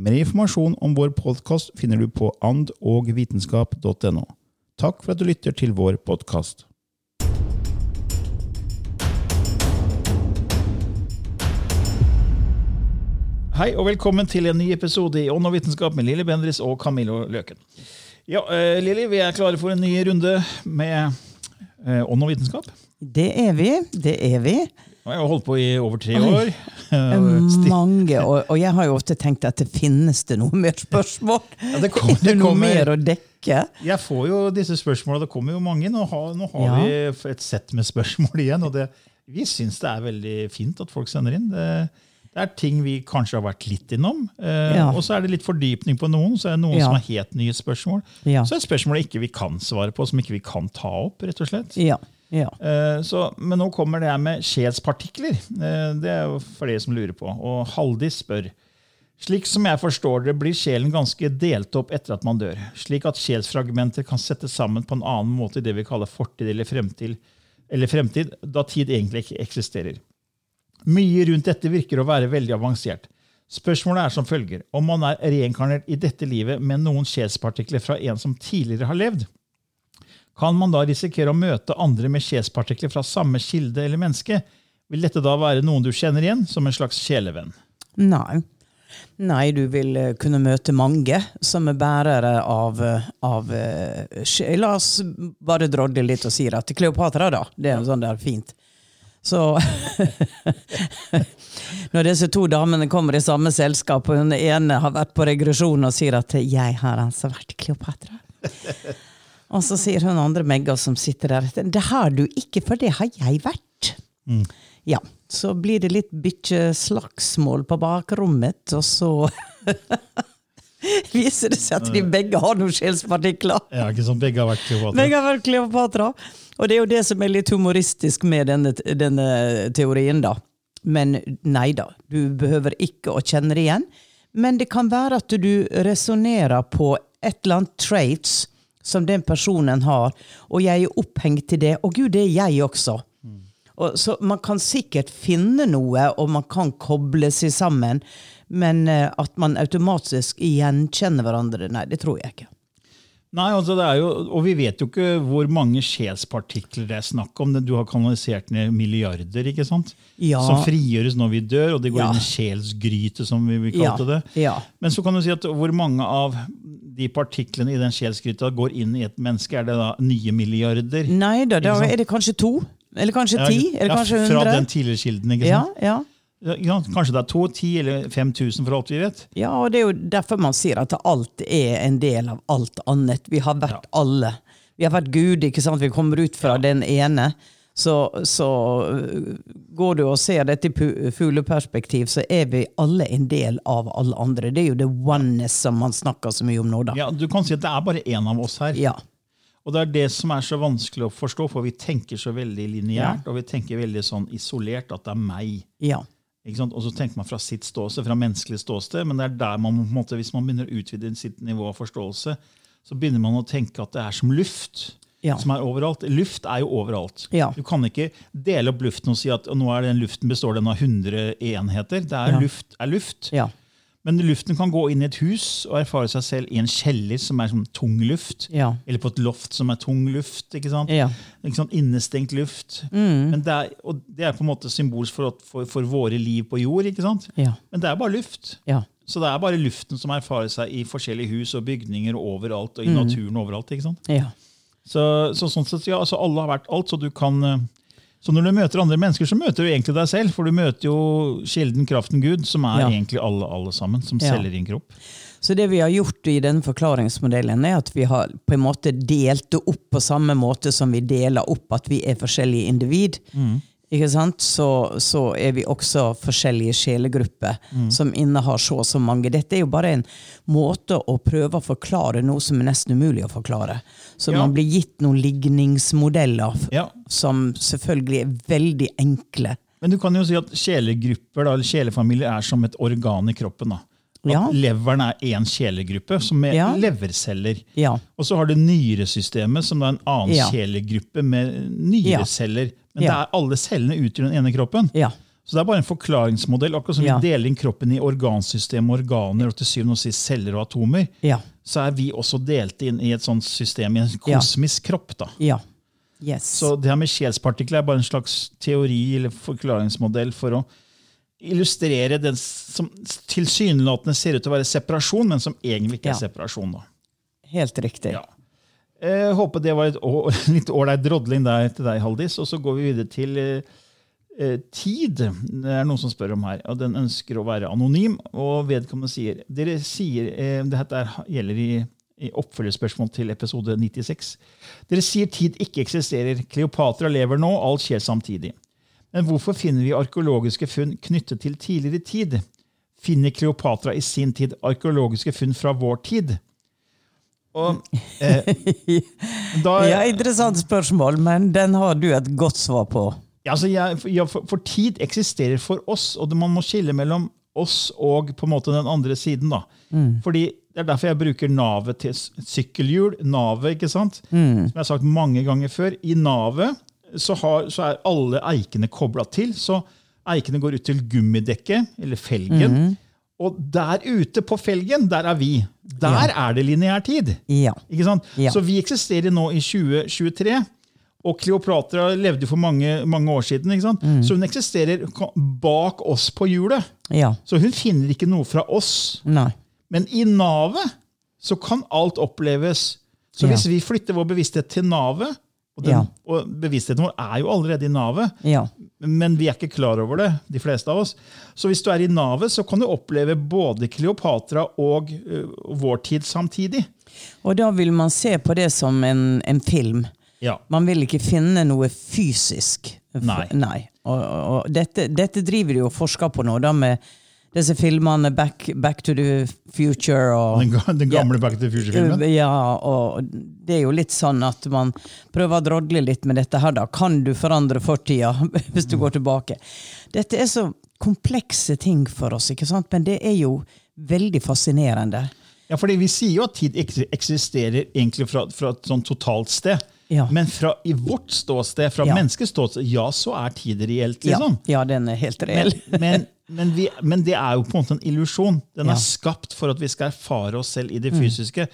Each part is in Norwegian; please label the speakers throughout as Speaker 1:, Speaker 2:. Speaker 1: Mer informasjon om vår podkast finner du på andogvitenskap.no. Takk for at du lytter til vår podkast. Hei og velkommen til en ny episode i Ånd og vitenskap med Lilly Bendriss og Camillo Løken. Ja, eh, Lilly, vi er klare for en ny runde med eh, Ånd og vitenskap.
Speaker 2: Det er vi. Det er vi.
Speaker 1: Nå har jeg holdt på i over tre år. eh, Sti-
Speaker 2: Mange, og, og jeg har jo ofte tenkt at det finnes det noe mer spørsmål?
Speaker 1: det kom-
Speaker 2: er det
Speaker 1: det
Speaker 2: noe
Speaker 1: kommer.
Speaker 2: mer å dekke?
Speaker 1: Jeg får jo disse spørsmåla. Det kommer jo mange. Nå har, nå har
Speaker 2: Ja.
Speaker 1: vi et sett med spørsmål igjen. Og det, vi syns det er veldig fint at folk sender inn. Det, det er ting vi kanskje har vært litt innom. Eh,
Speaker 2: Ja.
Speaker 1: Og så er det litt fordypning på noen. Så er det noen
Speaker 2: Ja.
Speaker 1: som har helt nye spørsmål.
Speaker 2: Ja.
Speaker 1: Så er det spørsmål ikke vi kan svare på, som ikke vi kan ta opp. rett og slett.
Speaker 2: Ja. ja.
Speaker 1: Eh, Så, men nå kommer det her med sjelspartikler. Eh, Det er jo for dere som lurer på. Og Haldis spør. Slik som jeg forstår det, blir sjelen ganske delt opp etter at man dør. Slik at sjelsfragmenter kan settes sammen på en annen måte i det vi kaller fortid eller fremtid, eller fremtid da tid egentlig ikke eksisterer. Mye rundt dette virker å være veldig avansert. Spørsmålet er som følger. Om man er reinkarnert i dette livet med noen sjelspartikler fra en som tidligere har levd, kan man da risikere å møte andre med sjelspartikler fra samme kilde eller menneske? Vil dette da være noen du kjenner igjen, som en slags sjelevenn?
Speaker 2: Nei. Nei, du vil eh, kunne møte mange som er bærere av, eh, av eh, sj- La oss bare drodle litt og si at Kleopatra, da. Det er jo sånn der fint. Så Når disse to damene kommer i samme selskap, og hun ene har vært på regresjon og sier at 'jeg har altså vært Kleopatra'. Og så sier hun andre Megga som sitter der at 'det har du ikke, for det har jeg vært'. Ja, så blir det litt bytteslagsmål på bakrommet, og så viser det seg at de begge har noen sjelspartikler.
Speaker 1: Ja, ikke sånn begge har vært
Speaker 2: Begge har vært Kleopatra. Og det er jo det som er litt humoristisk med denne, denne teorien, da. Men nei da, du behøver ikke å kjenne det igjen. Men det kan være at du resonnerer på et eller annet traits som den personen har, og jeg er opphengt i det. Å gud, det er jeg også. Og, så man kan sikkert finne noe, og man kan koble seg sammen. Men eh, at man automatisk gjenkjenner hverandre, nei, det tror jeg ikke.
Speaker 1: Nei, altså det er jo, Og vi vet jo ikke hvor mange sjelspartikler det er snakk om. Du har kanalisert ned milliarder ikke sant?
Speaker 2: Ja.
Speaker 1: som frigjøres når vi dør, og det går
Speaker 2: Ja.
Speaker 1: inn i sjelsgryte, som vi vi kalte
Speaker 2: Ja,
Speaker 1: det.
Speaker 2: ja.
Speaker 1: Men så kan du si at hvor mange av de partiklene i den sjelsgryta går inn i et menneske? Er det da nye milliarder?
Speaker 2: Nei da, da
Speaker 1: Ikke sant?
Speaker 2: er det kanskje to? Eller kanskje
Speaker 1: Ja,
Speaker 2: ti? Eller
Speaker 1: ja,
Speaker 2: kanskje
Speaker 1: Fra den
Speaker 2: hundre?
Speaker 1: tidligere kilden, ikke
Speaker 2: Ja,
Speaker 1: sant?
Speaker 2: ja.
Speaker 1: Ja, ikke sant? Kanskje det er to, ti eller 5000 for alt vi vet.
Speaker 2: ja, og det er jo derfor man sier at alt er en del av alt annet. Vi har vært alle. Vi har vært Gud, ikke sant? Vi kommer ut fra den ene. Så, så øh, går du og ser dette i pu- fugleperspektiv, så er vi alle en del av alle andre. Det er jo det oneness som man snakker så mye om nå, da.
Speaker 1: Ja, Du kan si at det er bare én av oss her.
Speaker 2: Ja.
Speaker 1: Og det er det som er så vanskelig å forstå, for vi tenker så veldig lineært, og vi tenker veldig sånn isolert at det er meg.
Speaker 2: ja.
Speaker 1: Ikke sant? Og så tenker man fra sitt ståsted, fra menneskelig ståsted, men det er der man, på en måte, hvis man begynner å utvide sitt nivå av forståelse, så begynner man å tenke at det er som luft.
Speaker 2: Ja.
Speaker 1: som er overalt. Luft er jo overalt.
Speaker 2: Ja.
Speaker 1: Du kan ikke dele opp luften og si at nå er den luften består den av 100 enheter. Det er
Speaker 2: Ja.
Speaker 1: luft er luft.
Speaker 2: Ja.
Speaker 1: Men luften kan gå inn i et hus og erfare seg selv i en kjeller som er sånn tung luft.
Speaker 2: Ja.
Speaker 1: Eller på et loft som er tung luft. ikke sant?
Speaker 2: Ja. Mm.
Speaker 1: Ikke sant? Innestengt luft. Men det er, og det er på en måte symbolsk for, at- for, for våre liv på jord. ikke sant?
Speaker 2: Ja.
Speaker 1: Men det er bare luft.
Speaker 2: Ja.
Speaker 1: Så det er bare luften som erfarer seg i forskjellige hus og bygninger og overalt. og i
Speaker 2: Mm.
Speaker 1: naturen og overalt, ikke sant?
Speaker 2: ja.
Speaker 1: Så, så sånn sett, ja, altså alle har vært alt, så du kan eh, så når du møter andre mennesker, så møter du egentlig deg selv. For du møter jo kilden, kraften Gud, som er
Speaker 2: Ja.
Speaker 1: egentlig alle alle sammen, som
Speaker 2: Ja.
Speaker 1: selger din kropp.
Speaker 2: Så det vi har gjort i den forklaringsmodellen, er at vi har på en måte delt det opp på samme måte som vi deler opp at vi er forskjellige individ.
Speaker 1: Mm.
Speaker 2: Ikke sant? Så, så er vi også forskjellige sjelegrupper
Speaker 1: Mm.
Speaker 2: som innehar så og så mange. Dette er jo bare en måte å prøve å forklare noe som er nesten umulig å forklare. Så
Speaker 1: Ja.
Speaker 2: man blir gitt noen ligningsmodeller f-
Speaker 1: Ja.
Speaker 2: som selvfølgelig er veldig enkle.
Speaker 1: Men du kan jo si at kjelegrupper, da, eller kjelefamilier er som et organ i kroppen. da. At
Speaker 2: Ja.
Speaker 1: leveren er én kjelegruppe, som er
Speaker 2: Ja.
Speaker 1: leverceller.
Speaker 2: Ja.
Speaker 1: Og så har du nyresystemet, som da er en annen
Speaker 2: Ja.
Speaker 1: kjelegruppe med nyreceller. Men det
Speaker 2: Ja.
Speaker 1: er alle cellene utgjør den ene kroppen.
Speaker 2: Ja.
Speaker 1: Så det er bare en forklaringsmodell. Akkurat som
Speaker 2: Ja.
Speaker 1: vi deler inn kroppen i organsystem, organer og til syvende og sist celler og atomer,
Speaker 2: Ja.
Speaker 1: så er vi også delt inn i et sånt system, i en
Speaker 2: Ja.
Speaker 1: kosmisk kropp. da.
Speaker 2: Ja. Yes.
Speaker 1: Så det her med sjelspartikler er bare en slags teori eller forklaringsmodell for å illustrere den som tilsynelatende ser ut til å være separasjon, men som egentlig ikke
Speaker 2: Ja.
Speaker 1: er separasjon. da.
Speaker 2: Helt riktig.
Speaker 1: Ja. Eh, håper det var et å- litt ålreit drodling der til deg, Haldis. Og så går vi videre til eh, eh, tid. Det er noen som spør om her. Og den ønsker å være anonym, og vedkommende sier Dere sier eh, Dette er, gjelder i, i oppfølgerspørsmål til episode 96. Dere sier tid ikke eksisterer. Kleopatra lever nå, alt skjer samtidig. Men hvorfor finner vi arkeologiske funn knyttet til tidligere tid? Finner Kleopatra i sin tid arkeologiske funn fra vår tid? Og eh, da,
Speaker 2: Ja, interessant spørsmål, men den har du et godt svar på.
Speaker 1: Ja, altså jeg, for- ja, for, for tid eksisterer for oss, og det, man må skille mellom oss og på en måte den andre siden. da. Fordi Det er derfor jeg bruker navet til s- sykkelhjul. Navet, ikke sant? Som jeg har sagt mange ganger før. I navet så, har, så er alle eikene kobla til. Så eikene går ut til gummidekket, eller felgen. Og der ute på felgen, der er vi. Der er det lineær tid.
Speaker 2: Ja.
Speaker 1: Ikke sant?
Speaker 2: Ja.
Speaker 1: Så vi eksisterer nå i 2023. Og Kleopatra levde jo for mange, mange år siden. Ikke sant?
Speaker 2: Mm.
Speaker 1: Så hun eksisterer ka- bak oss på hjulet.
Speaker 2: Ja.
Speaker 1: Så hun finner ikke noe fra oss.
Speaker 2: Nei.
Speaker 1: Men i navet så kan alt oppleves. Så
Speaker 2: Ja.
Speaker 1: hvis vi flytter vår bevissthet til navet og, den,
Speaker 2: Ja.
Speaker 1: og bevisstheten vår er jo allerede i navet,
Speaker 2: Ja.
Speaker 1: men vi er ikke klar over det, de fleste av oss. Så hvis du er i navet, så kan du oppleve både Kleopatra og ø, vår tid samtidig.
Speaker 2: Og da vil man se på det som en, en film.
Speaker 1: Ja.
Speaker 2: Man vil ikke finne noe fysisk. F-
Speaker 1: Nei.
Speaker 2: Nei. Og, og, og dette, dette driver de og forsker på nå, da med disse filmene Back, Back to the Future og
Speaker 1: Den, ga- den gamle Back to the Future-filmen?
Speaker 2: Eh, Ja, og det er jo litt sånn at man prøver å drodle litt med dette her, da. Kan du forandre fortida hvis
Speaker 1: Mm.
Speaker 2: du går tilbake? Dette er så komplekse ting for oss, ikke sant? Men det er jo veldig fascinerende.
Speaker 1: Ja, fordi Vi sier jo at tid eks- eksisterer egentlig fra, fra et sånn totalt sted.
Speaker 2: Ja.
Speaker 1: Men fra, i vårt ståsted, fra
Speaker 2: Ja.
Speaker 1: menneskets ståsted, ja, så er tid reelt.
Speaker 2: Ja,
Speaker 1: liksom.
Speaker 2: ja den er helt reell.
Speaker 1: Men, men, vi, men det er jo på en måte en illusjon. Den
Speaker 2: Ja. Mm.
Speaker 1: er skapt for at vi skal erfare oss selv i det fysiske.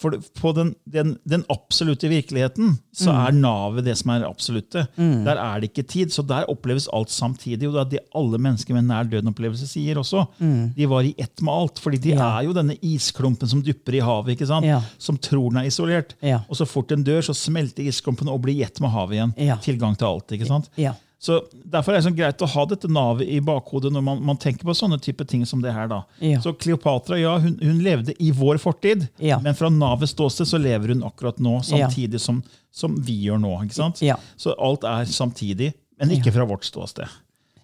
Speaker 1: For det- på den, den, den absolutte virkeligheten så
Speaker 2: Mm.
Speaker 1: er navet det som er det absolutte. Der er det ikke tid, så der oppleves alt samtidig. Og det er det alle mennesker med nær døden-opplevelse sier også. De var i ett med alt. fordi de
Speaker 2: Mm. Ja.
Speaker 1: er jo denne isklumpen som dupper i havet, ikke sant?
Speaker 2: Ja.
Speaker 1: som tror den er isolert.
Speaker 2: Ja.
Speaker 1: Og så fort den dør, så smelter isklumpen og blir i ett med havet igjen.
Speaker 2: Ja.
Speaker 1: Tilgang til alt. ikke sant?
Speaker 2: Ja.
Speaker 1: Så Derfor er det sånn greit å ha dette navet i bakhodet når man, man tenker på sånne type ting som det her. da.
Speaker 2: Ja.
Speaker 1: Så Kleopatra ja, hun, hun levde i vår fortid,
Speaker 2: Ja.
Speaker 1: men fra navets ståsted så lever hun akkurat nå,
Speaker 2: Ja.
Speaker 1: samtidig som, som vi gjør nå. ikke sant?
Speaker 2: Ja.
Speaker 1: Så alt er samtidig, men ikke fra vårt ståsted.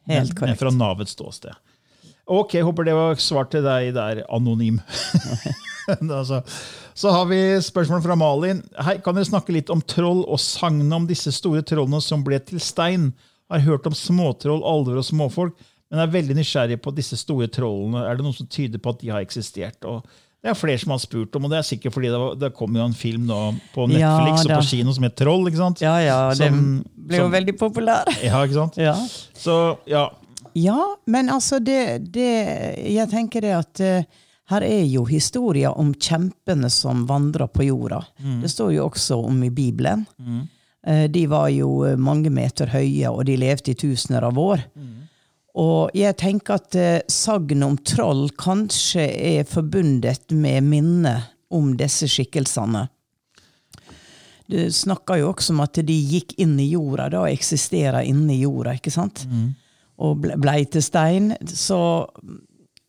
Speaker 2: Helt
Speaker 1: men,
Speaker 2: korrekt.
Speaker 1: men fra navets ståsted. Ok, håper det var svar til deg der, anonym. altså. Så har vi spørsmål fra Malin. Hei, kan dere snakke litt om troll og sagnet om disse store trollene som ble til stein? Har hørt om småtroll, alver og småfolk, men er veldig nysgjerrig på disse store trollene. Er det noe som tyder på at de har eksistert? Og Det er flere som har spurt om, og det er sikkert fordi det, var, det kom jo en film nå på Netflix
Speaker 2: Ja,
Speaker 1: og
Speaker 2: da.
Speaker 1: på kino som het Troll. ikke sant?
Speaker 2: Ja, ja, den
Speaker 1: Som-
Speaker 2: ble jo
Speaker 1: som-
Speaker 2: veldig populær.
Speaker 1: Ja, ikke sant?
Speaker 2: Ja.
Speaker 1: Så ja,
Speaker 2: Ja, men altså det, det Jeg tenker det at eh, her er jo historier om kjempene som vandrer på jorda. Det står jo også om i Bibelen. Eh, De var jo eh, mange meter høye, og de levde i tusener av år. Og jeg tenker at eh, sagnet om troll kanskje er forbundet med minnet om disse skikkelsene. Du snakker jo også om at de gikk inn i jorda, da eksisterer inne i jorda, ikke sant? Og ble, blei til stein. Så,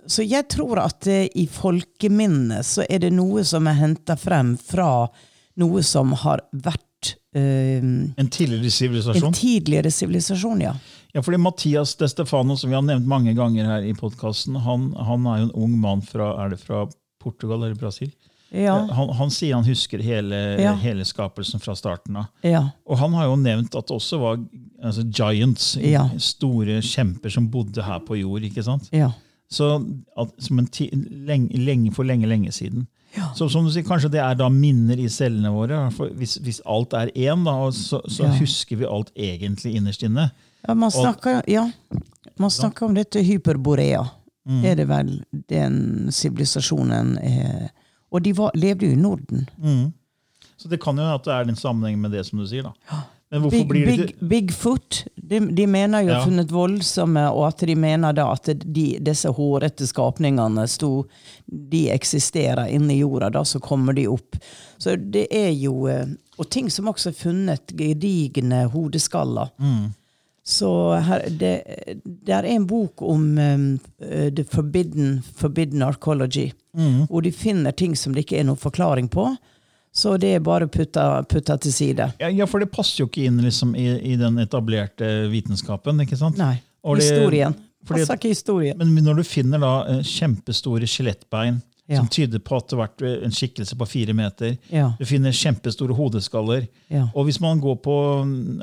Speaker 2: så jeg tror at eh, i folkeminnet så er det noe som er henta frem fra noe som har vært eh,
Speaker 1: en tidligere
Speaker 2: en
Speaker 1: sivilisasjon.
Speaker 2: tidligere sivilisasjon, ja.
Speaker 1: Ja, fordi Mathias De Stefano, som vi har nevnt mange ganger her i podkasten, han, han er jo en ung mann fra, er det fra Portugal eller Brasil.
Speaker 2: Ja,
Speaker 1: Eh, Han, han sier han husker hele,
Speaker 2: Ja.
Speaker 1: hele skapelsen fra starten av.
Speaker 2: ja.
Speaker 1: Og han har jo nevnt at det også var altså, giants,
Speaker 2: Ja.
Speaker 1: store kjemper som bodde her på jord. ikke sant?
Speaker 2: ja.
Speaker 1: Så at, som en ti, lenge, lenge, For lenge, lenge siden. Så som du sier, Kanskje det er da minner i cellene våre. For hvis, hvis alt er én, da, og så, så
Speaker 2: Ja.
Speaker 1: husker vi alt egentlig innerst inne.
Speaker 2: Ja, man snakker, ja, man snakker om dette hyperborea. Er det vel den sivilisasjonen eh, Og de var, levde jo i Norden.
Speaker 1: Så det kan jo hende at det er den sammenhengen med det som du sier. da. Men hvorfor
Speaker 2: Big,
Speaker 1: blir det
Speaker 2: Big, Bigfoot. De, de mener jo
Speaker 1: Ja.
Speaker 2: har funnet voldsomme Og at de mener da at de, disse hårete skapningene sto De eksisterer inni jorda, da så kommer de opp. Så det er jo eh, Og ting som også er funnet, gedigne hodeskaller.
Speaker 1: Mm.
Speaker 2: Så her, det, det er en bok om eh, The Forbidden, forbidden Arcology.
Speaker 1: Mm.
Speaker 2: Og de finner ting som det ikke er noen forklaring på. Så det er bare putta, putta til side.
Speaker 1: ja, ja, for det passer jo ikke inn liksom, i, i den etablerte vitenskapen. ikke sant?
Speaker 2: Nei.
Speaker 1: Og det-
Speaker 2: historien.
Speaker 1: fordi-
Speaker 2: Passer ikke historien.
Speaker 1: Men når du finner da eh, kjempestore skjelettbein
Speaker 2: Ja.
Speaker 1: som tyder på at det har vært eh, en skikkelse på fire meter,
Speaker 2: Ja.
Speaker 1: du finner kjempestore hodeskaller
Speaker 2: Ja.
Speaker 1: Og hvis man går på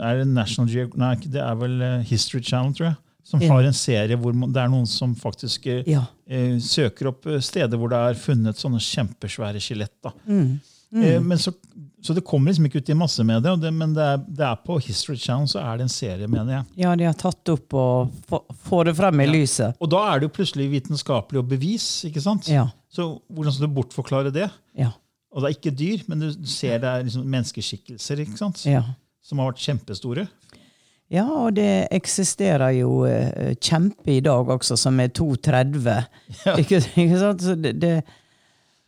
Speaker 1: er det National Geo- nei, ikke- det er vel eh, History Channel, tror jeg, som
Speaker 2: Ja.
Speaker 1: har en serie hvor man, det er noen som faktisk eh,
Speaker 2: Ja.
Speaker 1: eh, søker opp eh, steder hvor det er funnet sånne kjempesvære skjelett. da.
Speaker 2: Mm.
Speaker 1: Eh, men så, så det kommer liksom ikke ut i massemedia, og det, men det er, det er på History Channel så er det en serie, mener jeg.
Speaker 2: Ja, de har tatt opp og få- får det frem i lyset.
Speaker 1: Og da er det jo plutselig vitenskapelig og bevis. ikke sant?
Speaker 2: Ja.
Speaker 1: Så hvordan skal du bortforklare det?
Speaker 2: Ja.
Speaker 1: Og det er ikke dyr, men du ser det er liksom menneskeskikkelser ikke sant?
Speaker 2: ja.
Speaker 1: som har vært kjempestore.
Speaker 2: Ja, og det eksisterer jo eh, kjempe i dag også, som er 2,30. Ikke, ikke sant? Så det, det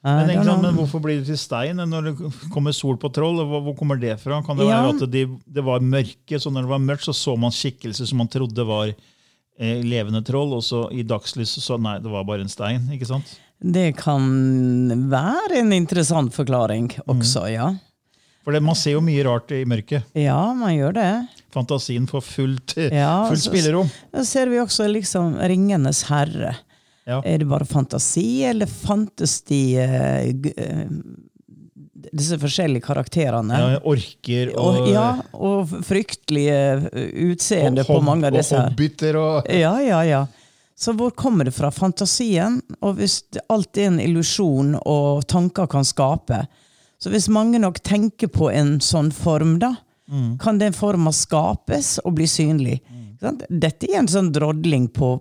Speaker 1: Men,
Speaker 2: I don't
Speaker 1: ikke sant,
Speaker 2: know.
Speaker 1: men hvorfor blir det til stein når det kommer sol på troll? og Hvor hvor kommer det fra? Kan det
Speaker 2: Ja.
Speaker 1: være at de, det var mørke, så når det var mørkt, så så man skikkelser som man trodde var eh, levende troll, og så i dagslys så nei, det var bare en stein. ikke sant?
Speaker 2: det kan være en interessant forklaring
Speaker 1: Mm.
Speaker 2: også, ja.
Speaker 1: For det, man ser jo mye rart i mørket.
Speaker 2: Ja, man gjør det.
Speaker 1: Fantasien får fullt,
Speaker 2: Ja,
Speaker 1: fullt
Speaker 2: så-
Speaker 1: spillerom.
Speaker 2: Da ser vi også liksom Ringenes herre.
Speaker 1: Ja.
Speaker 2: Er det bare fantasi, eller fantes de eh, g- eh, disse forskjellige karakterene?
Speaker 1: Ja, orker og,
Speaker 2: og, ja, og fryktelige eh, utseende på
Speaker 1: hob-
Speaker 2: mange av disse
Speaker 1: og
Speaker 2: her.
Speaker 1: hobbiter og
Speaker 2: Ja, ja, ja. Så hvor kommer det fra? Fantasien? Og hvis det- alt er en illusjon og tanker kan skape Så hvis mange nok tenker på en sånn form, da,
Speaker 1: Mm.
Speaker 2: kan den forma skapes og bli synlig. Ikke sant? Dette er en sånn drodling på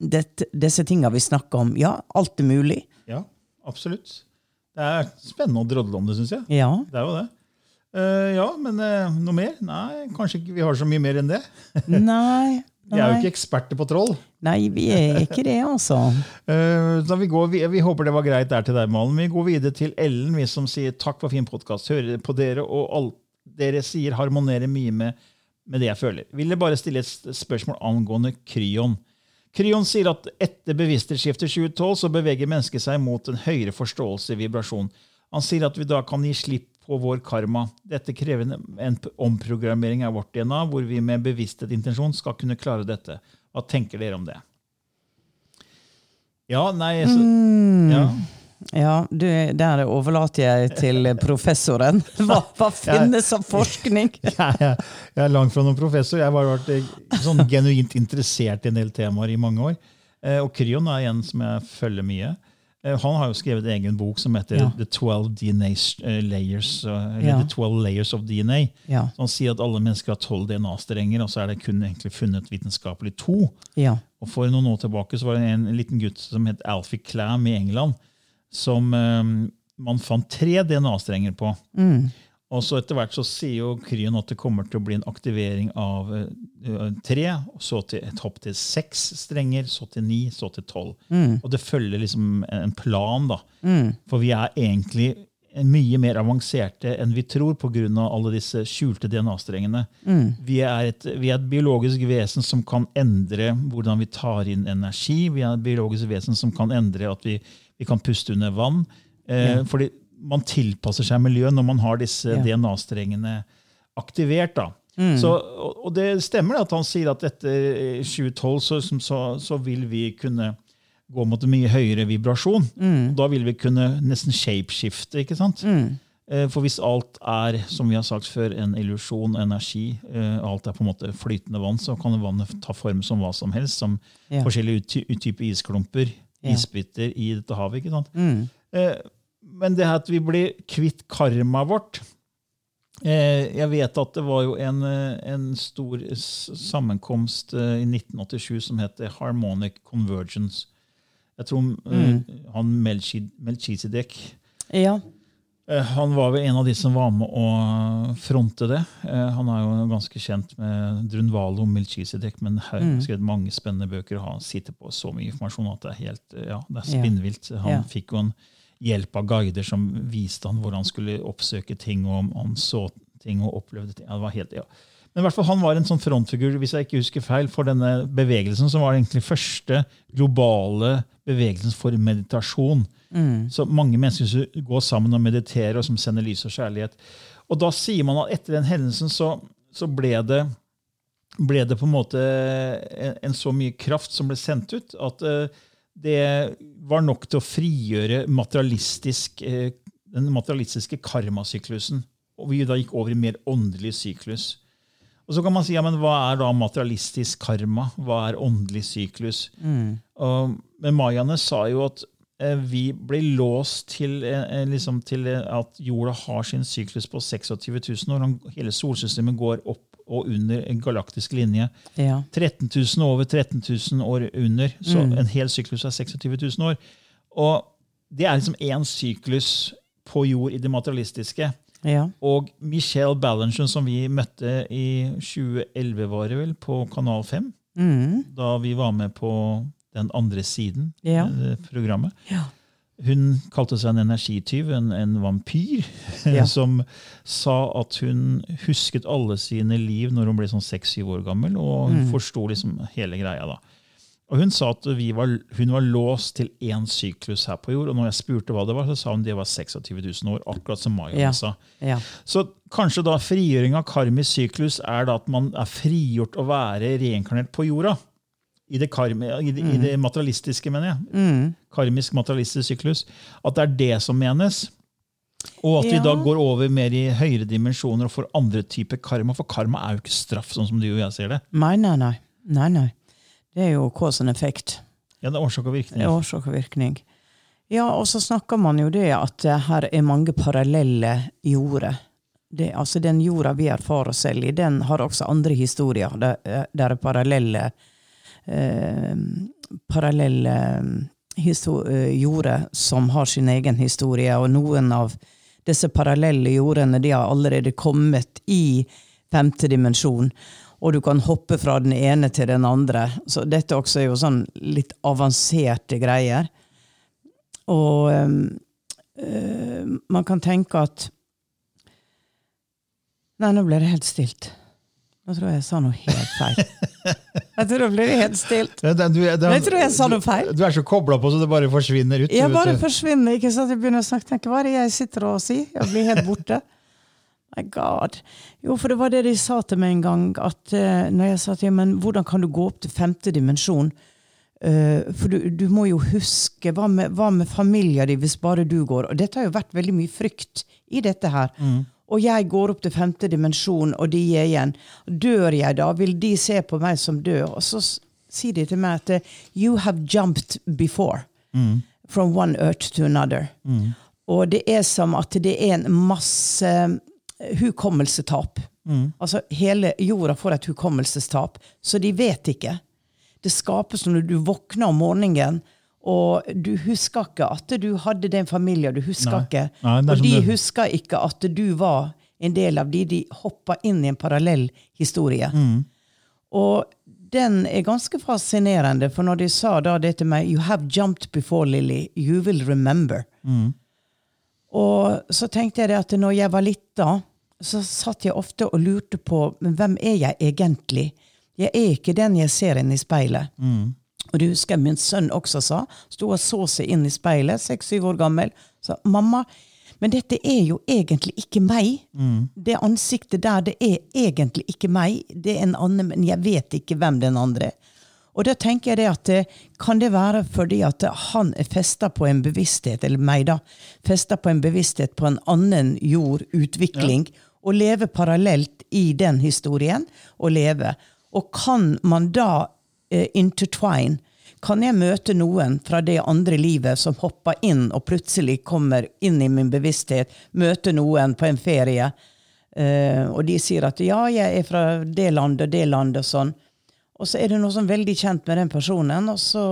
Speaker 2: dette, disse tinga vi snakker om. Ja, alt er mulig.
Speaker 1: Ja, absolutt. Det er spennende å drodle om det, syns jeg.
Speaker 2: Ja.
Speaker 1: Det er jo det. Eh, ja, men eh, noe mer? Nei, kanskje ikke vi har så mye mer enn det.
Speaker 2: Nei.
Speaker 1: Vi er jo ikke
Speaker 2: Nei,
Speaker 1: eksperter på troll.
Speaker 2: nei vi er ikke det, altså.
Speaker 1: Eh, da vi, går, vi, vi håper det var greit der til deg, Malen. Vi går videre til Ellen, vi som sier takk for fin podkast. Hører på dere, og alt dere sier harmonerer mye med, med det jeg føler. Ville bare stille et s- spørsmål angående Kryon. Kryon sier at etter bevissthetsskiftet 2012 så beveger mennesket seg mot en høyere forståelse i vibrasjon. Han sier at vi da kan gi slipp på vår karma. Dette krever en, en p- omprogrammering av vårt DNA, hvor vi med bevissthet intensjon skal kunne klare dette. Hva tenker dere om det? Ja, nei så, ja.
Speaker 2: Ja, du, der overlater jeg til professoren. Hva, hva finnes av forskning?
Speaker 1: Jeg, jeg- jeg er langt fra noen professor. Jeg har bare vært eh, sånn genuint interessert i en del temaer i mange år. Eh, Og Kryon er en som jeg følger mye. Eh, Eh, Han har jo skrevet egen bok som heter
Speaker 2: Ja.
Speaker 1: The 12 DNA s- eh, Layers, eh, eller
Speaker 2: Ja.
Speaker 1: The 12 Layers of DNA.
Speaker 2: Ja.
Speaker 1: Så han sier at alle mennesker har 12 DNA-strenger, og så er det kun egentlig funnet vitenskapelig to.
Speaker 2: Ja.
Speaker 1: Og For noen år tilbake så var det en liten gutt som het Alfie Clam i England, som eh, man fant tre DNA-strenger på. Og så Etter hvert så sier jo Kryen at det kommer til å bli en aktivering av eh, eh, tre, og så til et hopp til seks strenger, så til ni, så til tolv. Og det følger liksom en plan, da. For vi er egentlig mye mer avanserte enn vi tror pga. alle disse skjulte DNA-strengene. Vi, er et- vi er et biologisk vesen som kan endre hvordan vi tar inn energi. Vi er et biologisk vesen som kan endre at vi, vi kan puste under vann. Eh, Fordi man tilpasser seg miljøet når man har disse DNA-strengene aktivert. da.
Speaker 2: Mm.
Speaker 1: Så, og, og det stemmer at han sier at etter eh, 2012 så, som så, så vil vi kunne gå mot en mye høyere vibrasjon.
Speaker 2: Mm.
Speaker 1: Og da vil vi kunne nesten shapeskifte. ikke sant?
Speaker 2: Mm.
Speaker 1: Eh, For hvis alt er som vi har sagt før, en illusjon, energi, eh, alt er på en måte flytende vann, så kan vannet ta form som hva som helst. Som
Speaker 2: Ja.
Speaker 1: forskjellige ut- ut- typer isklumper,
Speaker 2: Ja. Mm.
Speaker 1: isbiter i dette havet. ikke sant? Eh, Men det her at vi blir kvitt karmaet vårt, Eh, Jeg vet at det var jo en, eh, en stor s- sammenkomst eh, i 1987 som het Harmonic Convergence. Jeg tror eh, han Melchi- Melchizedek
Speaker 2: Ja.
Speaker 1: eh, han var vel en av de som var med å fronte det. Eh, Han er jo ganske kjent med Drunvalo og Melchizedek, men har skrevet mange spennende bøker. og Han sitter på så mye informasjon at det er helt, eh, ja, det er
Speaker 2: Ja.
Speaker 1: spinnvilt. Han
Speaker 2: Ja.
Speaker 1: fikk jo en hjelp av guider som viste han hvordan han skulle oppsøke ting, og om han så ting og opplevde ting. Ja, det var helt, ja. Men i hvert fall han var en sånn frontfigur hvis jeg ikke husker feil, for denne bevegelsen, som var egentlig første globale bevegelsen for meditasjon. Så mange mennesker som går sammen og mediterer, og som sender lys og kjærlighet. Og da sier man at etter den hendelsen så, så ble det ble det på en måte en, en så mye kraft som ble sendt ut, at eh, det var nok til å frigjøre materialistisk, eh, den materialistiske karmasyklusen. Og vi da gikk over i mer åndelig syklus. Og så kan man si, ja, men hva er da materialistisk karma? Hva er åndelig syklus? Og, men mayaene sa jo at eh, vi blir låst til, eh, eh, liksom til eh, at jorda har sin syklus på 26 000 år. Han- Hele solsystemet går opp og under en galaktisk linje.
Speaker 2: Ja.
Speaker 1: 13 000 over 13 000 år under. Så en hel syklus er 26 000 år. Og det er liksom én syklus på jord i det materialistiske.
Speaker 2: Ja.
Speaker 1: Og Michelle Ballinger, som vi møtte i 2011, var det vel, på Kanal 5, da vi var med på Den andre siden,
Speaker 2: Mm. Ja.
Speaker 1: eh, programmet. Hun kalte seg en energityv, en, en vampyr,
Speaker 2: Ja.
Speaker 1: som sa at hun husket alle sine liv når hun ble sånn seks-syv år gammel, og
Speaker 2: Mm.
Speaker 1: hun forsto liksom hele greia da. Og hun sa at vi var, hun var låst til én syklus her på jord, og når jeg spurte hva det var, så sa hun det var 26 000 år, akkurat som Maya
Speaker 2: Ja.
Speaker 1: sa.
Speaker 2: Ja.
Speaker 1: Så kanskje da frigjøring av karmisk syklus er da at man er frigjort å være reinkarnert på jorda. I det, karmi, i det, i det
Speaker 2: Mm.
Speaker 1: materialistiske, mener jeg. Karmisk materialistisk syklus. At det er det som menes. Og at vi
Speaker 2: Ja.
Speaker 1: da går over mer i høyere dimensjoner og får andre typer karma. For karma er jo ikke straff, sånn som du og jeg ser det.
Speaker 2: Nei, nei, nei. nei, nei. Det er jo cause and effect.
Speaker 1: Ja, det er årsak og virkning.
Speaker 2: Det er årsak og virkning. Ja, og så snakker man jo det at eh, her er mange parallelle jorder. Det, altså Den jorda vi erfarer oss selv i, den har også andre historier der, eh, der er parallelle eh, parallelle eh, histo- eh, jorder som har sin egen historie, og noen av disse parallelle jordene de har allerede kommet i femte dimensjon. Og du kan hoppe fra den ene til den andre. Så dette også er jo sånn litt avanserte greier. Og ehm, eh, man kan tenke at Nei, nå ble det helt stilt. Nå tror jeg jeg sa noe helt feil. Jeg tror nå ble det helt stilt. Men jeg tror jeg sa noe feil.
Speaker 1: Du er så kobla på så det bare forsvinner ut.
Speaker 2: Jeg bare forsvinner, ikke sant? Jeg begynner å snakke, tenker, hva er det jeg sitter og sier? Jeg blir helt borte. My God. Jo, for det var det de sa til meg en gang, at eh, når jeg sa til dem, men hvordan kan du gå opp til femte dimensjon? Eh, for du, du må jo huske, hva med, hva med familien din hvis bare du går? Og dette har jo vært veldig mye frykt i dette her. Og jeg går opp til femte dimensjon, og de er igjen. Dør jeg da? Vil de se på
Speaker 1: Mm.
Speaker 2: meg som død? Og så s- sier de til meg at eh, you have jumped before. From one earth to another. Og det er som at det er en masse eh, hukommelsestap.
Speaker 1: Mm.
Speaker 2: Altså hele jorda får et hukommelsestap, så de vet ikke. Det skapes når du våkner om morgenen, og du husker ikke at du hadde den familien. Du husker
Speaker 1: Nei.
Speaker 2: ikke.
Speaker 1: Nei, det er
Speaker 2: og
Speaker 1: som
Speaker 2: de
Speaker 1: det-
Speaker 2: husker ikke at du var en del av de. De hoppa inn i en parallell historie.
Speaker 1: Mm.
Speaker 2: Og den er ganske fascinerende, for når de sa da det til meg You have jumped before, Lily. You will remember. Og så tenkte jeg det at når jeg var lita, så satt jeg ofte og lurte på men hvem er jeg egentlig? Jeg er ikke den jeg ser inn i speilet. Og det husker jeg min sønn også sa. Sto og så seg inn i speilet, seks-syv år gammel. Sa mamma, men dette er jo egentlig ikke meg. Det ansiktet der, det er egentlig ikke meg. Det er en annen, men jeg vet ikke hvem den andre er. Og da tenker jeg det at eh, kan det være fordi at han er festa på en bevissthet, eller meg da, festa på en bevissthet på en annen jord, utvikling, og leve parallelt i den historien, og leve. Og kan man da eh, intertwine? Kan jeg møte noen fra det andre livet som hopper inn og plutselig kommer inn i min bevissthet, møte noen på en ferie, eh, og de sier at ja, jeg er fra det landet og det landet og sånn. Og så er det noe sånn veldig kjent med den personen, og så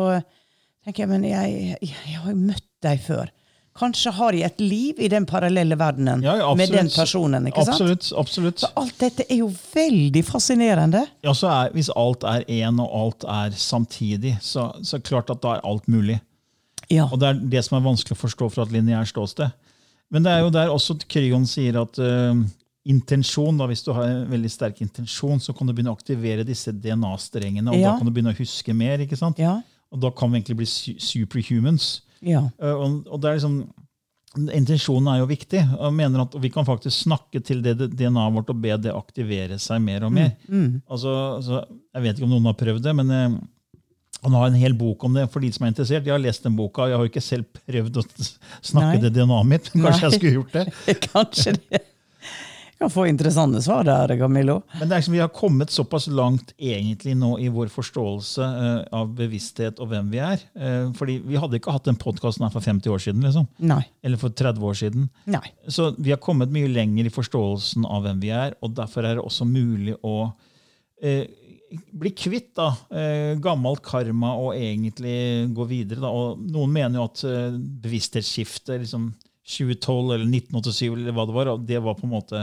Speaker 2: tenker jeg, men jeg, jeg, jeg har jo møtt deg før. Kanskje har jeg et liv i den parallelle verdenen
Speaker 1: Ja, ja,
Speaker 2: med
Speaker 1: absolutt.
Speaker 2: den personen, ikke sant?
Speaker 1: Absolutt. absolutt.
Speaker 2: Så alt dette er jo veldig fascinerende.
Speaker 1: Ja, så er, hvis alt er én, og alt er samtidig, så, så klart at da er alt mulig.
Speaker 2: Ja.
Speaker 1: Og det er det som er vanskelig å forstå fra et lineært ståsted. Men det er jo der også at Kryon sier at eh, intensjon, da, hvis du har en veldig sterk intensjon, så kan du begynne å aktivere disse DNA-strengene, og da
Speaker 2: Ja.
Speaker 1: kan du begynne å huske mer. ikke sant?
Speaker 2: Ja.
Speaker 1: Og da kan vi egentlig bli su- superhumans.
Speaker 2: Ja.
Speaker 1: Eh, og, og det er liksom, Intensjonen er jo viktig. og jeg mener at Vi kan faktisk snakke til det det- DNA-et vårt og be det aktivere seg mer og
Speaker 2: Mm,
Speaker 1: mer. Altså, altså, jeg vet ikke om noen har prøvd det, men eh, han har en hel bok om det for de som er interessert. Jeg har lest den boka, og jeg har jo ikke selv prøvd å s- snakke
Speaker 2: Nei.
Speaker 1: det DNA-et mitt. men Kanskje
Speaker 2: Nei.
Speaker 1: jeg skulle gjort det.
Speaker 2: Kanskje det. Kan få interessante svar der, Camillo.
Speaker 1: Men det er liksom, vi har kommet såpass langt egentlig nå i vår forståelse eh, av bevissthet og hvem vi er. Eh, fordi vi hadde ikke hatt den podkasten her for 50 år siden. liksom.
Speaker 2: Nei.
Speaker 1: Eller for 30 år siden.
Speaker 2: Nei.
Speaker 1: Så vi har kommet mye lenger i forståelsen av hvem vi er, og derfor er det også mulig å eh, bli kvitt da, eh, gammelt karma og egentlig gå videre. Da. Og noen mener jo at eh, bevissthetsskiftet liksom 2012 eller 1987 eller hva det var, og det var på en måte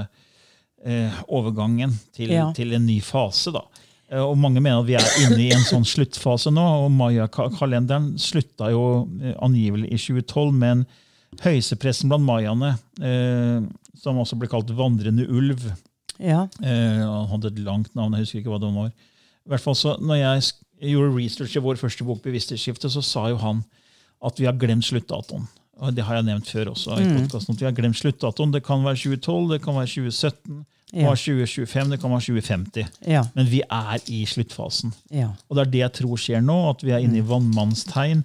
Speaker 1: eh, overgangen til,
Speaker 2: Ja.
Speaker 1: til en ny fase. da. Eh, Og mange mener at vi er inne i en sånn sluttfase nå. og Maya-kalenderen slutta jo eh, angivelig i 2012 med en høyestepressen blant mayaene, eh, som også ble kalt vandrende ulv.
Speaker 2: Ja.
Speaker 1: Eh, han hadde et langt navn, jeg husker ikke hva det var. I hvert fall så, når jeg sk- gjorde research i vår første bok, Bevissthetsskiftet, så sa jo han at vi har glemt sluttdatoen. Og Det har jeg nevnt før også.
Speaker 2: Mm.
Speaker 1: i podcasten, at vi har glemt sluttdatoen. Det kan være 2012, det kan være 2017, det kan
Speaker 2: Ja.
Speaker 1: være 2025, det kan være 2050.
Speaker 2: Ja.
Speaker 1: Men vi er i sluttfasen.
Speaker 2: Ja.
Speaker 1: Og det er det jeg tror skjer nå, at vi er
Speaker 2: Mm.
Speaker 1: inne i vannmannstegn.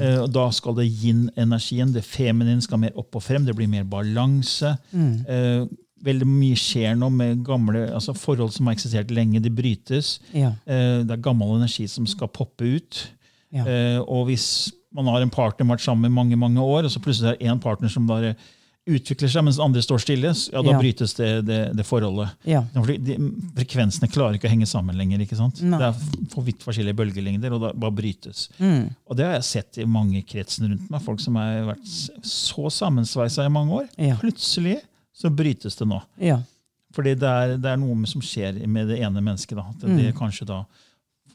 Speaker 1: Eh, og da skal det yin-energien, det feminine, skal mer opp og frem. Det blir mer balanse.
Speaker 2: Mm.
Speaker 1: Eh, veldig mye skjer nå med gamle altså forhold som har eksistert lenge, de brytes.
Speaker 2: Ja.
Speaker 1: Eh, det er gammel energi som skal poppe ut.
Speaker 2: Ja.
Speaker 1: Eh, og hvis man har en partner vært sammen i mange mange år, og så plutselig er det én partner som bare utvikler seg, mens den andre står stille, s- ja, da
Speaker 2: Ja.
Speaker 1: brytes det, det, det forholdet.
Speaker 2: Ja.
Speaker 1: Ja, Fordi de, frekvensene klarer ikke å henge sammen lenger. ikke sant? Det er f- for vidt forskjellige bølgelengder, og da bare brytes. Og Det har jeg sett i mange i kretsen rundt meg. Folk som har vært s- så sammensveisa i mange år.
Speaker 2: Ja.
Speaker 1: Plutselig så brytes det nå.
Speaker 2: Ja.
Speaker 1: Fordi det er, det er noe med- som skjer med det ene mennesket. da, At det, kanskje da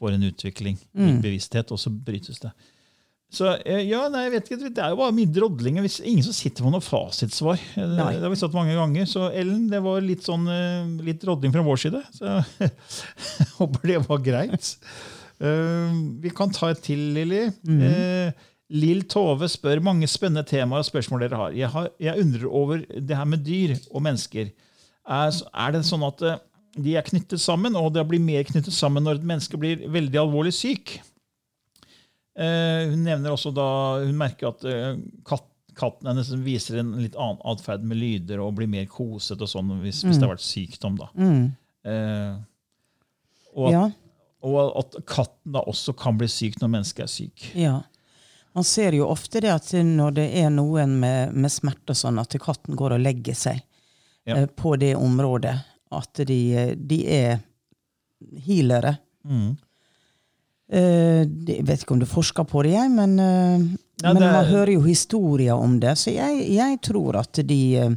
Speaker 1: får en utvikling, en bevissthet, og så brytes det. Så eh, ja, nei, jeg vet ikke, Det er jo bare mye drodling. og hvis- Ingen som sitter med noe fasitsvar. Eh, Det,
Speaker 2: Nei.
Speaker 1: det har vi sagt mange ganger. Så Ellen, det var litt sånn eh, litt drodling fra vår side. Så jeg håper det var greit. Eh, vi kan ta et til, Lilly. Eh, Lill Tove spør mange spennende temaer og spørsmål dere har. Jeg, har, jeg undrer over det her med dyr og mennesker. Er, er det sånn at eh, de er knyttet sammen, og det blir mer knyttet sammen når et menneske blir veldig alvorlig syk? Eh, hun nevner også da hun merker at eh, katt, katten hennes viser en litt annen atferd med lyder og blir mer koset og sånn hvis, hvis det har vært sykdom. da. Eh, og, at,
Speaker 2: Ja.
Speaker 1: og at katten da også kan bli syk når mennesket er syk.
Speaker 2: Ja. Man ser jo ofte det at når det er noen med, med smerter sånn at katten går og legger seg
Speaker 1: Ja.
Speaker 2: eh, på det området, at de, eh, de er healere.
Speaker 1: Mm.
Speaker 2: Eh, det- jeg vet ikke om du forsker på det, jeg, men, eh,
Speaker 1: Ja,
Speaker 2: men
Speaker 1: det-
Speaker 2: man hører jo historier om det. Så jeg, jeg tror at de eh,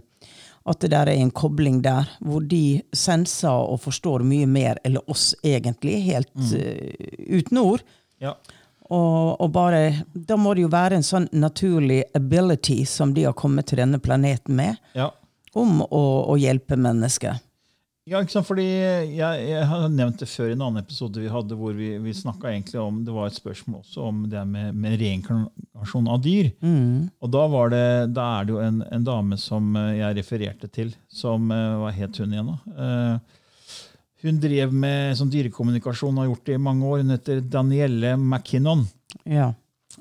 Speaker 2: at det der er en kobling der, hvor de senser og forstår mye mer, eller oss egentlig, helt
Speaker 1: Mm.
Speaker 2: eh, uten ord.
Speaker 1: Ja.
Speaker 2: Og, og bare, da må det jo være en sånn naturlig ability som de har kommet til denne planeten med,
Speaker 1: Ja.
Speaker 2: om å, å hjelpe mennesker.
Speaker 1: Ja, ikke sant? Fordi jeg, jeg har nevnt det før i en annen episode vi hadde, hvor vi, vi snakka egentlig om Det var et spørsmål også om det med, med reinkarnasjon av dyr. Og da, var det, da er det jo en, en dame som eh, jeg refererte til, som eh, Hva het hun igjen, da? Eh, Hun drev med sånn dyrekommunikasjon og har gjort det i mange år. Hun heter Danielle McKinnon.
Speaker 2: Ja.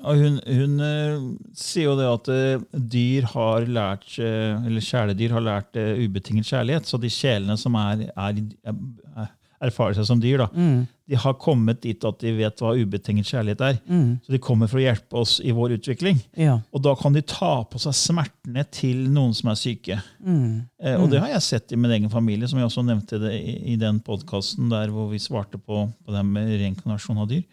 Speaker 1: Og hun, hun eh, sier jo det at eh, dyr har lært eh, eller kjæledyr har lært eh, ubetinget kjærlighet. Så de sjelene som er, er, er, erfarer seg som dyr, da, de har kommet dit at de vet hva ubetinget kjærlighet er. Så de kommer for å hjelpe oss i vår utvikling.
Speaker 2: Ja.
Speaker 1: Og da kan de ta på seg smertene til noen som er syke. Eh, og det har jeg sett i min egen familie, som jeg også nevnte det i, i den podkasten der hvor vi svarte på, på det med reinkarnasjon av dyr.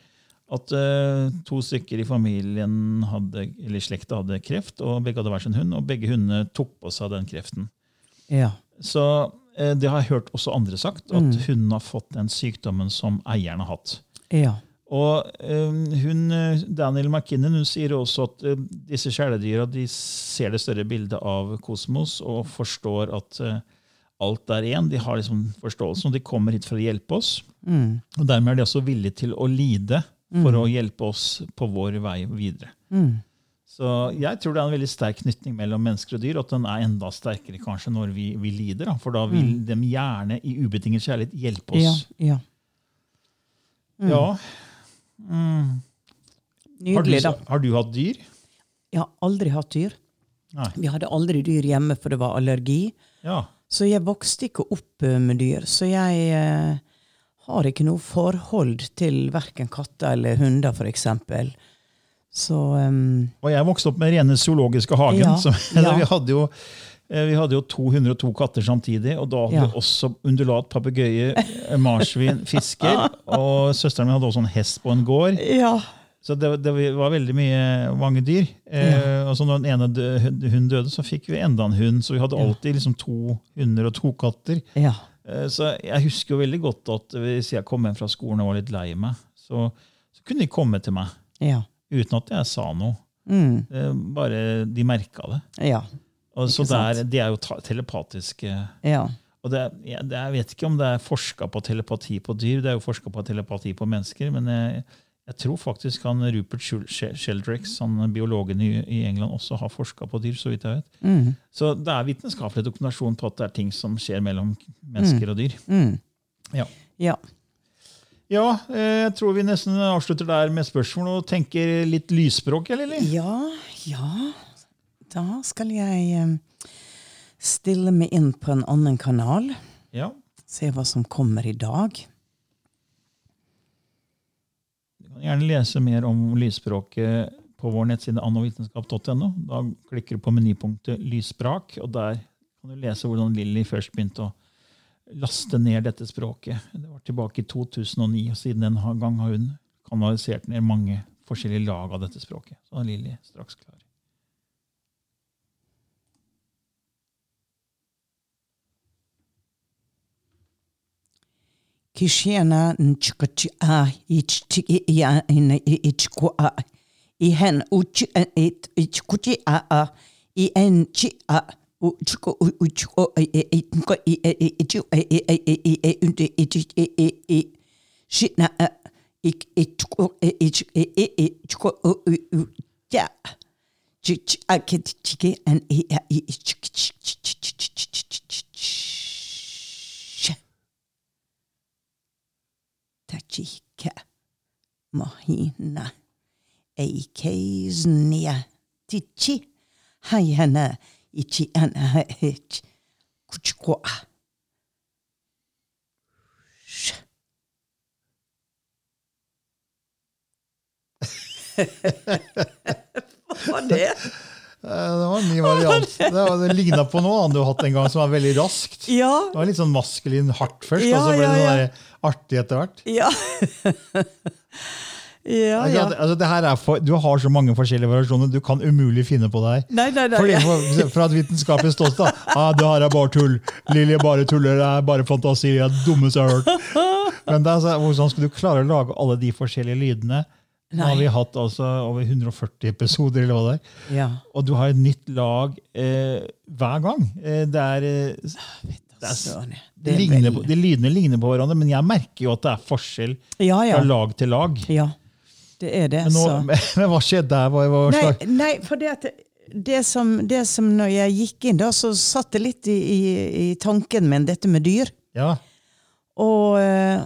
Speaker 1: At eh, to stykker i familien hadde, eller i slekta hadde kreft, og begge hadde hver sin hund, og begge hundene tok på seg den kreften.
Speaker 2: ja.
Speaker 1: Så eh, det har jeg hørt også andre sagt, at hundene har fått den sykdommen som eieren har hatt.
Speaker 2: Ja.
Speaker 1: Og eh, hun, eh, Daniel McKinnon hun sier også at eh, disse kjæledyra de ser det større bildet av kosmos og forstår at eh, alt er én. De har liksom forståelsen, og de kommer hit for å hjelpe oss. Og dermed er de også villige til å lide for å hjelpe oss på vår vei videre. Så jeg tror det er en veldig sterk knytning mellom mennesker og dyr, og at den er enda sterkere kanskje når vi, vi lider. Da. For da vil de gjerne i ubetinget kjærlighet hjelpe
Speaker 2: ja.
Speaker 1: oss.
Speaker 2: ja.
Speaker 1: Ja, Har du,
Speaker 2: Nydelig, da.
Speaker 1: har du hatt dyr?
Speaker 2: Jeg har aldri hatt dyr.
Speaker 1: Nei.
Speaker 2: Vi hadde aldri dyr hjemme, for det var allergi.
Speaker 1: Ja.
Speaker 2: Så jeg vokste ikke opp eh, med dyr. Så jeg eh, har ikke noe forhold til verken katter eller hunder, f.eks. Så eh,
Speaker 1: Og jeg vokste opp med rene zoologiske hagen.
Speaker 2: Ja,
Speaker 1: Som,
Speaker 2: ja.
Speaker 1: vi, hadde jo, eh, vi hadde jo 202 katter samtidig, og da hadde
Speaker 2: Ja.
Speaker 1: vi også undulat, papegøye, eh, marsvin, fisker. Og søsteren min hadde også en hest på en gård.
Speaker 2: Ja.
Speaker 1: Så det, det var veldig mye, mange dyr. Eh, og så når den ene dø, hunden døde, så fikk vi enda en hund. Så vi hadde alltid liksom to hunder og to katter.
Speaker 2: Ja.
Speaker 1: Eh, Så jeg husker jo veldig godt at hvis jeg kom hjem fra skolen og var litt lei meg, så, så kunne de komme til meg
Speaker 2: Ja.
Speaker 1: uten at jeg sa noe.
Speaker 2: Mm.
Speaker 1: Eh, Bare de merka det.
Speaker 2: Ja.
Speaker 1: Og så
Speaker 2: Ikke sant?
Speaker 1: der, De er jo ta- telepatiske.
Speaker 2: ja.
Speaker 1: Og det, er- jeg, det, jeg vet ikke om det er forska på telepati på dyr, det er jo forska på telepati på mennesker. men jeg, jeg tror faktisk han Rupert Shul- Shel- Sheldrake, han biologen i, i England, også har forska på dyr. Så vidt jeg vet.
Speaker 2: Mm.
Speaker 1: Så det er vitenskapelig dokumentasjon på at det er ting som skjer mellom
Speaker 2: Mm.
Speaker 1: mennesker og dyr. Ja.
Speaker 2: Ja.
Speaker 1: Ja, eh, jeg tror vi nesten avslutter der med spørsmål og tenker litt lysspråk, eller? Lilly?
Speaker 2: Ja, ja. Da skal jeg eh, stille meg inn på en annen kanal.
Speaker 1: Ja.
Speaker 2: Se hva som kommer i dag.
Speaker 1: Du kan gjerne lese mer om lysspråket på vår nettside annovitenskap.no. Da klikker du på menypunktet lysspråk, og der kan du lese hvordan Lilly først begynte å laste ned dette språket. Det var tilbake i 2009, og siden den ha- gang har hun kanalisert ned mange forskjellige lag av dette språket. Så da er Lilly straks klar.
Speaker 2: Kishena nchkacha ichchi ya in ichkua i hen uchi it ichkuchi a a i en chi a uchko uchko itnko i ichu i i i unde ichi i i shitna ik ichko ich i ichko ja chich akit chiki an i i ich Tajika, Mahina, Eikesnia, Tichi, Hayana, Ichiana, Ich, Kuchkwa. var det?
Speaker 1: Eh, Det var en ny variant. Det, var- det ligna på noe annet du har hatt en gang, som var veldig raskt.
Speaker 2: Ja.
Speaker 1: Det var litt sånn maskulin hardt først,
Speaker 2: Ja,
Speaker 1: og så ble det noe
Speaker 2: ja, ja.
Speaker 1: der artig etter hvert.
Speaker 2: Ja. ja,
Speaker 1: Det er
Speaker 2: ja.
Speaker 1: klart, altså, det her er for, du har så mange forskjellige variasjoner, du kan umulig finne på det her.
Speaker 2: Nei, nei, nei.
Speaker 1: Fordi, for, fra et vitenskapelig ståsted. Ah, det her er bare tull. Lilly bare tuller. Det er bare fantasi. Det er det dummeste jeg har hørt. Men det er, så- hvordan skal du klare å lage alle de forskjellige lydene? Nå har vi hatt altså over 140 episoder, eller hva det er.
Speaker 2: ja.
Speaker 1: Og du har et nytt lag eh, hver gang. Eh, det er, eh, det er,
Speaker 2: Søren,
Speaker 1: det
Speaker 2: Sånn, det er
Speaker 1: ligner
Speaker 2: vel-
Speaker 1: på, de lydene ligner på hverandre, men jeg merker jo at det er forskjell
Speaker 2: Ja, ja.
Speaker 1: fra lag til lag.
Speaker 2: ja. Det er det,
Speaker 1: Men, nå,
Speaker 2: så.
Speaker 1: men hva skjedde der? Hva, hva
Speaker 2: Nei,
Speaker 1: slags-
Speaker 2: nei for det at det som, det som når jeg gikk inn, da, så satt det litt i, i, i tanken min, dette med dyr.
Speaker 1: Ja,
Speaker 2: Og, eh,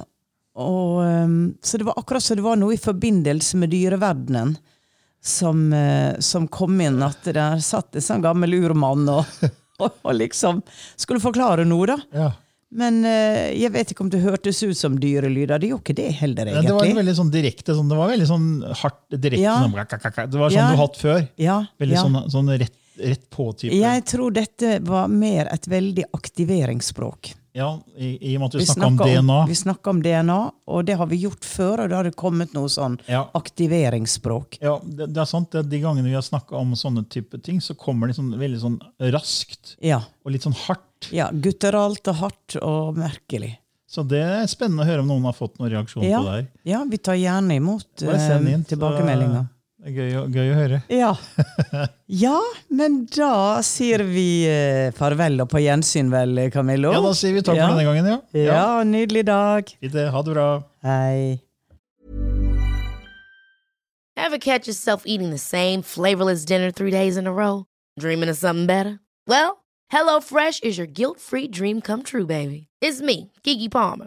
Speaker 2: og eh, Så det var akkurat som det var noe i forbindelse med dyreverdenen som, eh, som kom inn. At der satt en sånn gammel urmann og, og, og liksom skulle forklare noe, da.
Speaker 1: ja.
Speaker 2: Men eh, jeg vet ikke om det hørtes ut som dyrelyder. Det gjorde ikke det heller,
Speaker 1: Men
Speaker 2: egentlig.
Speaker 1: det var en veldig sånn direkte, sånn, det var veldig sånn hardt direkte.
Speaker 2: Ja.
Speaker 1: Sånn, kakakaka. det var sånn
Speaker 2: Ja.
Speaker 1: du har hatt før.
Speaker 2: ja,
Speaker 1: Veldig
Speaker 2: ja.
Speaker 1: sånn, sånn rett, rett på-type.
Speaker 2: Jeg tror dette var mer et veldig aktiveringsspråk.
Speaker 1: Ja, i, I og med at
Speaker 2: Vi
Speaker 1: vi snakka om
Speaker 2: snakker
Speaker 1: DNA.
Speaker 2: vi snakker om DNA, og det har vi gjort før, og da har det kommet noe sånn
Speaker 1: Ja.
Speaker 2: aktiveringsspråk.
Speaker 1: Ja, det, det er sant. det- De gangene vi har snakka om sånne type ting, så kommer det sånn, veldig sånn raskt
Speaker 2: Ja.
Speaker 1: og litt sånn hardt.
Speaker 2: Ja, gutteralt og hardt og merkelig.
Speaker 1: Så det er spennende å høre om noen har fått noen reaksjon
Speaker 2: Ja,
Speaker 1: Sånn på det her.
Speaker 2: ja vi tar gjerne imot
Speaker 1: Bare send inn,
Speaker 2: eh,
Speaker 1: så-
Speaker 2: tilbakemeldinger.
Speaker 1: Det er gøy, å- gøy å høre.
Speaker 2: Ja. ja, men da sier vi eh, farvel og på gjensyn vel, Camillo?
Speaker 1: Ja, Da sier vi takk
Speaker 2: Ja.
Speaker 1: for denne gangen, ja.
Speaker 2: Ja, nydelig dag.
Speaker 1: Fint det. Ha det bra.
Speaker 2: Hei.
Speaker 3: Ever catch yourself eating the same flavorless dinner three days in a row? Dreaming of something better? Well, HelloFresh is your guilt free dream come true, baby. It's me, Gigi Palmer.